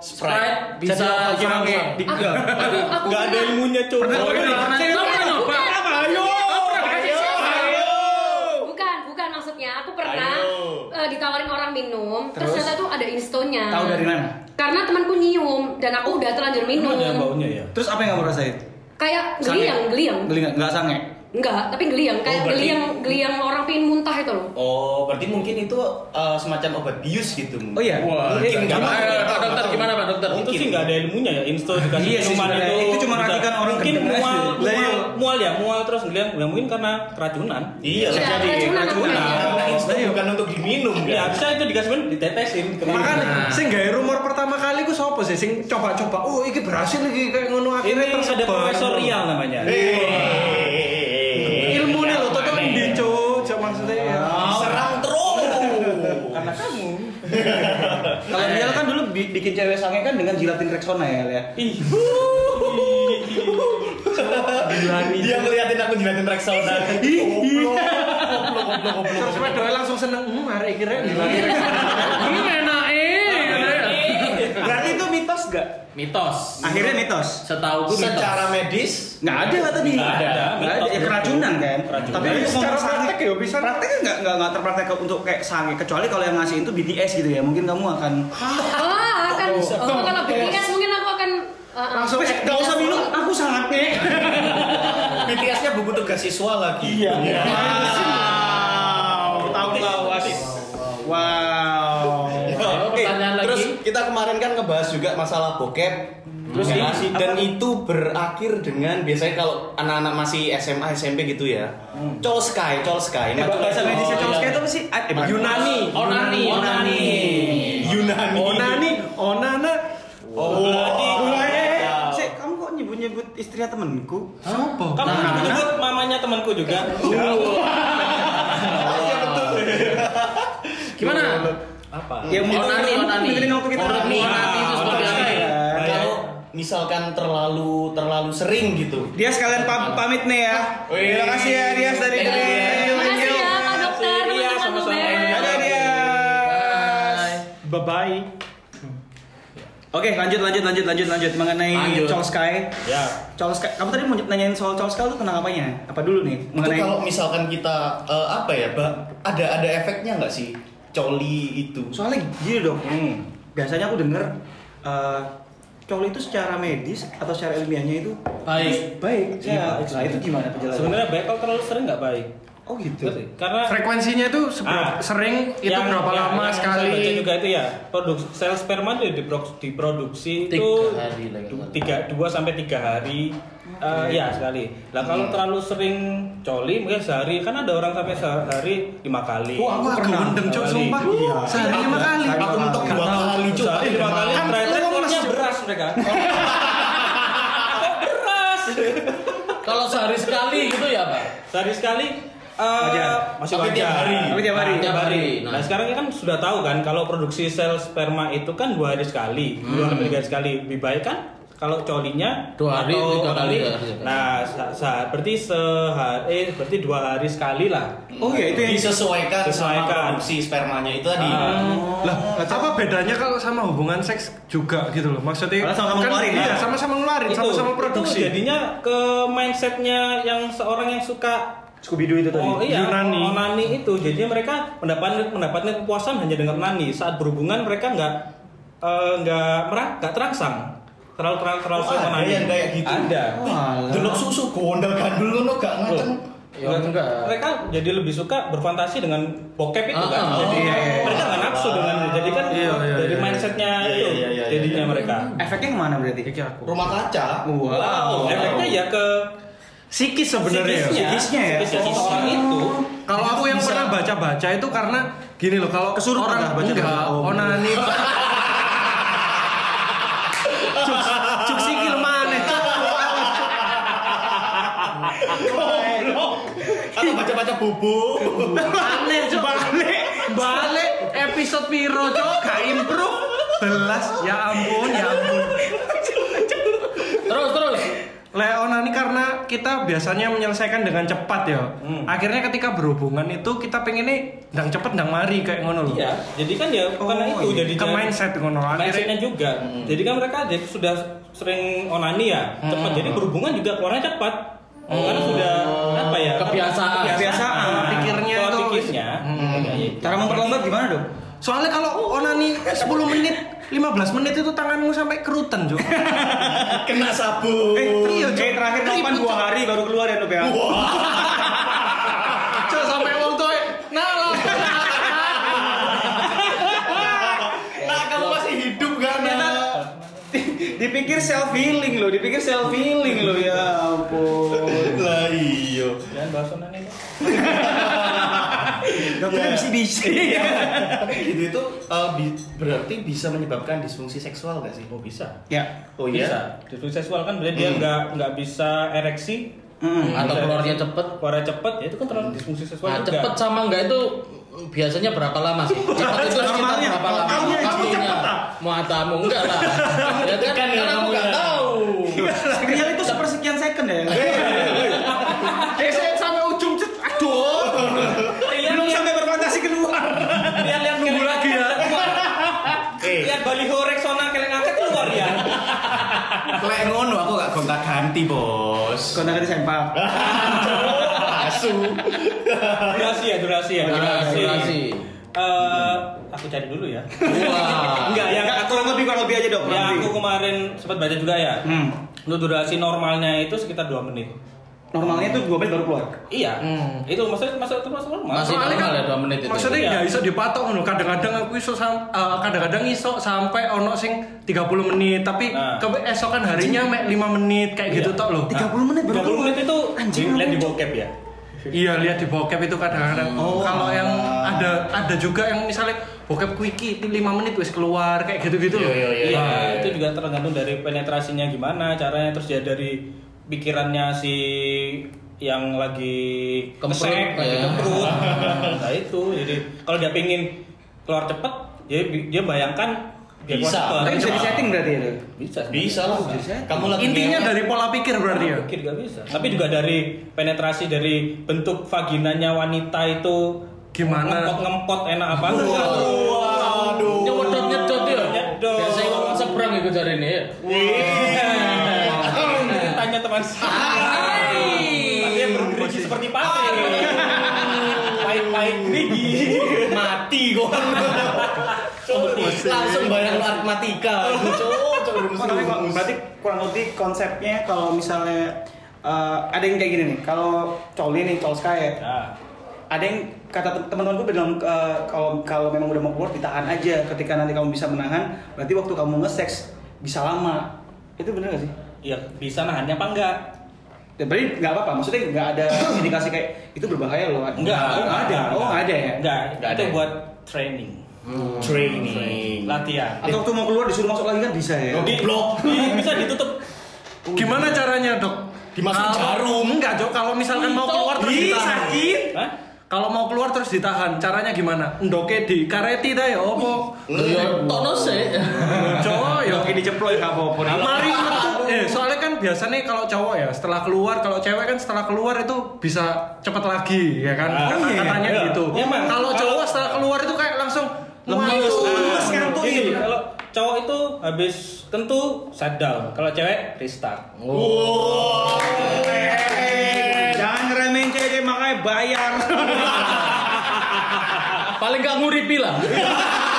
Speaker 3: Sprite, bisa
Speaker 1: Jadi
Speaker 3: sampai
Speaker 1: di enggak.
Speaker 6: Aku aku
Speaker 5: nggak ada ilmunnya coba
Speaker 1: Pernah
Speaker 3: ini
Speaker 1: pernah.
Speaker 3: pernah.
Speaker 1: Saya
Speaker 3: Kamu
Speaker 1: pernah.
Speaker 3: pernah nyoba?
Speaker 1: Apa? Ayo.
Speaker 6: Bukan, bukan maksudnya. Aku pernah
Speaker 2: Ayo.
Speaker 6: eh, ditawarin orang minum, terus,
Speaker 1: Terus?
Speaker 6: ternyata tuh ada instonya.
Speaker 1: Tahu dari mana?
Speaker 6: Karena temanku nyium dan aku udah terlanjur minum.
Speaker 5: ada baunya ya
Speaker 1: Terus apa yang kamu rasain?
Speaker 6: kayak geliang, geliang.
Speaker 1: Geli nggak? Nggak sange.
Speaker 6: Enggak, tapi
Speaker 1: Oh,
Speaker 6: geliang kayak
Speaker 2: berarti-
Speaker 6: geliang geliang orang pengen muntah itu loh.
Speaker 2: Oh, berarti mungkin itu eh, semacam obat bius gitu.
Speaker 1: Oh iya.
Speaker 5: Wah,
Speaker 2: Mungkin nggak
Speaker 3: Gimana,
Speaker 2: tahu,
Speaker 3: Pak
Speaker 2: nggak
Speaker 3: dokter,
Speaker 2: tahu.
Speaker 3: gimana, Pak dokter?
Speaker 5: itu sih nggak ada ilmunya ya insta dikasih
Speaker 1: Iya sih,
Speaker 5: minuman
Speaker 1: sebenarnya.
Speaker 5: itu
Speaker 1: Itu cuma
Speaker 5: bisa.
Speaker 1: racikan orang
Speaker 5: mungkin
Speaker 1: gendeng aja.
Speaker 5: mual,
Speaker 1: Lah,
Speaker 5: mual,
Speaker 1: iya.
Speaker 5: mual ya mual terus bilang ya mungkin karena keracunan
Speaker 2: Iya,
Speaker 6: Iya,
Speaker 2: jadi
Speaker 6: keracunan
Speaker 2: keracunan.
Speaker 6: namanya.
Speaker 2: Karena instan bukan untuk diminum
Speaker 5: ya
Speaker 2: kan.
Speaker 5: harusnya itu dikasih minum ditetesin kemana
Speaker 7: Makanya, sing gawe rumor pertama kali ku sopo sih sing coba-coba. Oh, iki berhasil iki kayak ngono akhirnya
Speaker 5: ini ada
Speaker 7: tersebar.
Speaker 5: profesorial namanya
Speaker 2: Iya. Hei.
Speaker 7: Ilmu nih lo, tapi endi, Cuk? Cuk, maksudnya ya.
Speaker 2: Serang terus.
Speaker 1: Kalau Rial kan dulu bi- bikin cewek sange kan dengan jilatin Rexona ya, Lea? ya.
Speaker 7: Iya.
Speaker 5: Ih.
Speaker 2: Dia ngeliatin aku jilatin Rexona. Goblok, goblok, goblok, goblok.
Speaker 7: Terus wedoknya langsung seneng, hmm, hari iki rek dilatih."
Speaker 3: Hmm, enak eh.
Speaker 1: Berarti itu mitos gak?
Speaker 3: Mitos.
Speaker 1: Akhirnya mitos.
Speaker 3: Setauku mitos.
Speaker 2: Secara medis,
Speaker 1: Nggak ada lah tadi.
Speaker 5: Nggak ada.
Speaker 1: Nggak ada. Ya, keracunan kan.
Speaker 5: Keracunan.
Speaker 1: Tapi
Speaker 7: Tapi
Speaker 1: untuk
Speaker 7: secara
Speaker 1: ngomong sange-
Speaker 7: praktek ya bisa.
Speaker 1: Prakteknya nggak nggak nggak terpraktek untuk kayak sange. Kecuali kalau yang ngasih itu BTS gitu ya. Mungkin kamu akan
Speaker 6: Ah, akan oh, kalau BTS mungkin aku akan uh,
Speaker 1: langsung eh nggak usah minum. Aku sangat nih.
Speaker 2: BTS-nya buku tugas siswa lagi. Iya. Ah.
Speaker 1: Wow. Tahu nggak wasit? Wow.
Speaker 3: Ayo, pertanyaan lagi.
Speaker 2: Nah, Terus kita kemarin kan ngebahas juga masalah bokep. Terus
Speaker 1: Hmm.
Speaker 2: ya, dan itu berakhir dengan biasanya kalau anak-anak masih SMA SMP gitu ya. Colskai, colskai. Nah,
Speaker 1: Eh, Bahasa
Speaker 2: colskai-
Speaker 1: medisnya cowok kayak itu apa sih? Eh, Yunani.
Speaker 3: Onani, onani.
Speaker 2: iya. Yunani.
Speaker 7: Onani, onana.
Speaker 2: Oh, bloody.
Speaker 1: eh, Sik, kamu kok nyebut-nyebut istrinya temenku?
Speaker 7: Sopo?
Speaker 5: kamu
Speaker 3: Nah,
Speaker 5: kenapa nyebut mamanya temanku juga
Speaker 3: Gimana?
Speaker 2: Apa?
Speaker 1: Ya mungkin
Speaker 3: Onani, onani.
Speaker 1: mungkin waktu kita
Speaker 3: Onani, onani itu seperti apa
Speaker 1: Iya,
Speaker 3: ya?
Speaker 2: Ah, Kalau misalkan terlalu terlalu sering gitu.
Speaker 1: Dia sekalian pam- pamit nih ya.
Speaker 2: Wih.
Speaker 1: Terima kasih ya Dias dari
Speaker 3: Thank
Speaker 1: tadi.
Speaker 3: you.
Speaker 6: Makasih ya, Pak Dokter,
Speaker 5: Iya,
Speaker 6: teman-teman
Speaker 5: sama-sama.
Speaker 3: Eh,
Speaker 6: Luber.
Speaker 1: Ada Dias.
Speaker 7: Bye-bye.
Speaker 1: Oke, lanjut lanjut lanjut lanjut lanjut mengenai
Speaker 3: Lanjut.
Speaker 1: Charles Sky.
Speaker 5: ya
Speaker 1: Charles Sky, kamu tadi mau nanyain soal Charles Sky itu tentang apanya? Apa dulu nih?
Speaker 2: Itu
Speaker 1: Mengenai
Speaker 2: kalau misalkan kita eh, apa ya, Mbak? Ada ada efeknya nggak sih coli itu?
Speaker 1: soalnya gini dong. Biasanya aku denger eh coli itu secara medis atau secara ilmiahnya itu
Speaker 3: Baik.
Speaker 1: baik. Ya, nah itu gimana penjelasannya?
Speaker 5: sebenarnya baik kalau terlalu sering nggak baik
Speaker 1: Oh gitu.
Speaker 5: Ngerti? karena
Speaker 7: Frekuensinya tuh
Speaker 5: Ah.
Speaker 7: seberapa- sering itu
Speaker 5: Yang-
Speaker 7: berapa
Speaker 5: yang- yang
Speaker 7: lama
Speaker 5: saya baca
Speaker 7: sekali? Oh,
Speaker 5: juga itu ya produk sel sperma itu diproduksi, diproduksi
Speaker 3: Tiga
Speaker 5: itu
Speaker 3: hari lah kalau nggak
Speaker 5: tiga dua sampai tiga hari eh, ya sekali lah kalau
Speaker 1: Hmm.
Speaker 5: terlalu sering coli mungkin sehari kan ada orang sampai sehari lima kali
Speaker 1: Wah, aku agak mendem, Cok, sumpah. Iya.
Speaker 7: Sehari lima kali.
Speaker 1: Aku mentok
Speaker 2: dua kali coba
Speaker 5: sehari lima kali
Speaker 7: Kan
Speaker 5: ternyata
Speaker 7: lemes,
Speaker 5: keluarnya
Speaker 7: Cuk.
Speaker 5: beras mereka beras
Speaker 3: Kalau sehari sekali gitu ya, Pak?
Speaker 5: sehari sekali eh,
Speaker 1: Wajar.
Speaker 5: masih
Speaker 2: Tapi
Speaker 5: wajar
Speaker 2: tiap hari.
Speaker 1: Tapi tiap hari.
Speaker 3: Tiap hari.
Speaker 5: Nah, sekarang kan sudah tahu kan kalau produksi sel sperma itu kan dua hari sekali, dua sampai tiga hari sekali. Lebih baik kan kalau colinya
Speaker 3: Dua hari,
Speaker 5: atau
Speaker 3: tiga kali,
Speaker 5: onani.
Speaker 3: tiga kali.
Speaker 5: Nah, se- se- berarti sehari, eh, berarti dua hari sekali lah.
Speaker 1: Oh iya itu yang
Speaker 2: disesuaikan Ah, sama
Speaker 5: Disesuaikan.
Speaker 2: produksi spermanya itu tadi.
Speaker 7: Lah, apa bedanya kalau sama hubungan seks juga gitu loh? Maksudnya
Speaker 1: Padahal sama-sama ngeluarin,
Speaker 7: Iya,
Speaker 1: ya.
Speaker 7: sama-sama ngeluarin,
Speaker 5: itu
Speaker 7: sama-sama produksi.
Speaker 5: Itu jadinya ke mindsetnya yang seorang yang suka
Speaker 1: Scooby Doo itu tadi.
Speaker 5: Oh iya,
Speaker 7: Yunani.
Speaker 5: onani itu. Jadi mereka mendapat mendapatkan kepuasan hanya dengan onani. Saat berhubungan mereka nggak eh, nggak merah nggak terangsang. Terlalu terlalu terlalu
Speaker 2: Oh,
Speaker 5: sering
Speaker 2: ada
Speaker 5: onani.
Speaker 2: yang kayak gitu?
Speaker 5: Ada.
Speaker 2: Delok susu gondel gandul ngono gak ngaceng.
Speaker 3: Ya enggak.
Speaker 5: Mereka jadi lebih suka berfantasi dengan bokep itu kan.
Speaker 3: Ah,
Speaker 5: jadi
Speaker 1: iya, iya.
Speaker 5: mereka nggak nafsu dengan jadi kan
Speaker 7: Iya, iya,
Speaker 5: dari
Speaker 7: iya.
Speaker 5: mindsetnya
Speaker 2: Iya,
Speaker 5: itu
Speaker 2: iya, iya, iya,
Speaker 5: jadinya mereka.
Speaker 1: Efeknya kemana berarti?
Speaker 2: Rumah kaca.
Speaker 1: Wow.
Speaker 5: Efeknya ya ke
Speaker 7: Psikis sebenarnya.
Speaker 5: psikisnya,
Speaker 1: Psikisnya ya?
Speaker 5: psikisnya seseorang itu.
Speaker 7: Oh. Kalau aku yang pernah baca-baca itu karena gini loh, kalau
Speaker 1: Kesurupan
Speaker 7: orang
Speaker 1: nggak baca-baca?
Speaker 7: enggak,
Speaker 1: Oh, bener.
Speaker 7: onani. Cuk, cuk sikil maneh, cuk.
Speaker 2: Goblok. Atau baca-baca bubu.
Speaker 7: Maneh, cuk. Balik, balik episode piro, cuk? Gak improve. Belas, ya ampun, ya ampun.
Speaker 3: Terus, terus.
Speaker 7: Leona ini karena kita biasanya menyelesaikan dengan cepat ya. Akhirnya ketika berhubungan itu kita pengennya dang cepet dang mari kayak ngono loh.
Speaker 5: Iya, jadi kan ya
Speaker 1: Oh,
Speaker 5: karena itu
Speaker 1: iya.
Speaker 5: jadi
Speaker 7: Ke mindset ngono
Speaker 5: mindsetnya
Speaker 7: akhirnya.
Speaker 5: juga. Jadi kan mereka jadi sudah sering onani ya, cepat. Jadi berhubungan juga keluarnya cepat. Karena sudah apa ya?
Speaker 3: Kebiasaan.
Speaker 1: Kebiasaan,
Speaker 5: Nah,
Speaker 7: pikirnya
Speaker 5: pola
Speaker 7: itu.
Speaker 5: pikirnya.
Speaker 1: Cara memperlambat gimana dong?
Speaker 7: Soalnya kalau onani 10 menit 15 menit itu tanganmu sampai kerutan, Cuk.
Speaker 2: Kena sabu.
Speaker 7: Eh, trio, Cuk.
Speaker 1: Eh Oh, terakhir kapan
Speaker 7: Ribut,
Speaker 1: dua
Speaker 7: Cuk.
Speaker 1: hari baru keluar ya Nup ya?
Speaker 7: Cuk, sampai wong tuh nah lah.
Speaker 2: Nah, kamu masih hidup kan?
Speaker 1: Dipikir self healing loh, dipikir self healing loh ya ampun.
Speaker 2: Lah iya.
Speaker 5: Dan bahasannya nih.
Speaker 1: Dokternya bisa di
Speaker 2: Itu itu eh, bi- berarti bisa menyebabkan disfungsi seksual gak sih?
Speaker 5: Oh bisa.
Speaker 1: Ya.
Speaker 2: Oh
Speaker 5: Bisa.
Speaker 2: iya.
Speaker 5: Disfungsi seksual kan berarti dia nggak nggak bisa ereksi,
Speaker 1: Hmm.
Speaker 3: atau keluarnya cepet
Speaker 5: keluarnya cepet, ya itu kan terlalu disfungsi seksual
Speaker 3: nah
Speaker 5: juga.
Speaker 3: cepet sama enggak itu biasanya berapa lama sih cepet itu sekitar
Speaker 1: Normalnya,
Speaker 3: berapa lama
Speaker 1: kamu- kamu cepet, ah?
Speaker 3: mau atamu enggak lah ya kan
Speaker 2: ya,
Speaker 3: karena aku
Speaker 2: kamu
Speaker 3: nggak
Speaker 2: ya.
Speaker 3: tahu
Speaker 1: Iya. Sinyal itu sepersekian second ya.
Speaker 4: Saya sampai ujung cet. Aduh.
Speaker 1: Belum sampai berfantasi keluar.
Speaker 5: Lihat lihat nunggu lagi ya.
Speaker 2: Eh,
Speaker 5: Lihat baliho Rexona kalian angkat keluar ya.
Speaker 2: lek ngono aku gak gonta ganti, Bos.
Speaker 1: Kontak di sempak.
Speaker 2: Asu.
Speaker 5: Durasi ya, durasi ya,
Speaker 3: Nah,
Speaker 5: durasi.
Speaker 3: durasi
Speaker 5: Eh, aku cari dulu ya.
Speaker 3: wah
Speaker 5: Enggak, yang
Speaker 1: Enggak, kurang lebih kurang lebih aja dok.
Speaker 5: Iya, ya aku kemarin sempat baca juga ya.
Speaker 1: Hmm.
Speaker 5: Lu durasi normalnya itu sekitar 2 menit.
Speaker 1: Normalnya itu dua menit baru keluar.
Speaker 5: Iya. Itu maksudnya masuk termasuk normal.
Speaker 3: masih
Speaker 7: Soalnya
Speaker 3: normal
Speaker 7: kan-
Speaker 3: ya dua menit itu
Speaker 7: Maksudnya
Speaker 5: Iya.
Speaker 7: nggak iso dipatok ngono. Kadang-kadang aku iso sam- eh, kadang-kadang iso sampai ono sing 30 menit, tapi
Speaker 5: Nah.
Speaker 7: keesokan harinya mek 5 menit kayak
Speaker 3: Iya.
Speaker 7: gitu tok loh.
Speaker 1: 30 menit baru
Speaker 5: 30
Speaker 1: keluar.
Speaker 5: menit itu
Speaker 1: Anjing,
Speaker 5: lihat di bokep ya.
Speaker 7: Iya lihat di bokep itu kadang-kadang. kalau yang ada ada juga yang misalnya bokep quickie itu 5 menit wis keluar kayak gitu-gitu loh.
Speaker 3: Iya, iya,
Speaker 5: Iya,
Speaker 3: iya.
Speaker 5: itu juga tergantung dari penetrasinya gimana caranya terus ya dari pikirannya si yang lagi
Speaker 3: Kemprut,
Speaker 5: kesek, lagi
Speaker 3: ya.
Speaker 5: kemprut. nah itu jadi kalau dia pingin keluar cepet, dia dia bayangkan dia keluar
Speaker 2: Bisa.
Speaker 5: cepet.
Speaker 1: Tapi bisa di setting berarti ya. Dok?
Speaker 5: Bisa.
Speaker 2: Bisa lah. Kamu lagi
Speaker 7: Intinya
Speaker 2: ngewe.
Speaker 7: dari pola pikir berarti
Speaker 1: Iya.
Speaker 3: Oh,
Speaker 7: ya.
Speaker 5: Pikir gak bisa. Tapi juga dari penetrasi dari bentuk vaginanya wanita itu
Speaker 7: Gimana?
Speaker 5: ngempot-ngempot enak apa enggak.
Speaker 2: Waduh.
Speaker 3: nyedot nyedot ya
Speaker 5: Nyedot.
Speaker 3: biasanya ngomong seberang itu dari ini ya
Speaker 1: Iya.
Speaker 5: Tanya teman saya. Tapi yang bergerigi seperti pate. Pahit-pahit gerigi.
Speaker 2: mati kok. Langsung bayang lu matematika.
Speaker 1: Oh, tapi kok- berarti kurang lebih konsepnya kalau misalnya eh, ada yang kayak gini nih, kalau coli nih, coli ya,
Speaker 5: Nah,
Speaker 1: ada yang kata teman-teman gue bilang eh, kalau kalau memang udah mau keluar ditahan aja ketika nanti kamu bisa menahan berarti waktu kamu nge-sex bisa lama itu bener gak sih?
Speaker 5: ya bisa nahannya apa enggak?
Speaker 1: Ya, berarti nggak apa-apa maksudnya nggak ada indikasi kayak itu berbahaya loh oh nggak ada oh nggak ada ya Hmm.
Speaker 5: Enggak,
Speaker 2: Enggak
Speaker 5: itu
Speaker 2: ada.
Speaker 5: buat training.
Speaker 2: Training.
Speaker 5: Latihan.
Speaker 1: atau waktu mau keluar disuruh masuk lagi kan bisa ya
Speaker 5: Di- di- bisa ditutup
Speaker 3: iya.
Speaker 7: Gimana caranya dok?
Speaker 2: Dimasukin
Speaker 7: Kalau-
Speaker 2: jarum.
Speaker 7: Enggak dok. Kalau misalkan mau keluar terus
Speaker 1: Ih,
Speaker 7: ditahan.
Speaker 1: sakit
Speaker 5: Hah?
Speaker 7: Kalau mau keluar terus ditahan. Caranya gimana? Ndoke di kareti dah ya opo.
Speaker 3: ya tono sih
Speaker 7: Cowok ya.
Speaker 1: Oke diceploy nggak apa-apa nih.
Speaker 7: Mari metu. Eh, soalnya kan biasanya kalau cowok ya setelah keluar, kalau cewek kan setelah keluar itu bisa cepet lagi ya kan?
Speaker 5: Ah,
Speaker 7: Kata-
Speaker 5: iya.
Speaker 7: Katanya
Speaker 5: Iya.
Speaker 7: gitu.
Speaker 5: Emang.
Speaker 7: Kalau cowok setelah keluar itu kayak langsung
Speaker 3: Lemes.
Speaker 7: waduh.
Speaker 1: Lemes, ngantuk
Speaker 5: Gini,
Speaker 1: gitu.
Speaker 5: Kalau cowok itu habis tentu shut down, kalau cewek restart.
Speaker 1: jangan ngeremehin cewek makanya bayar
Speaker 3: paling gak nguripi lah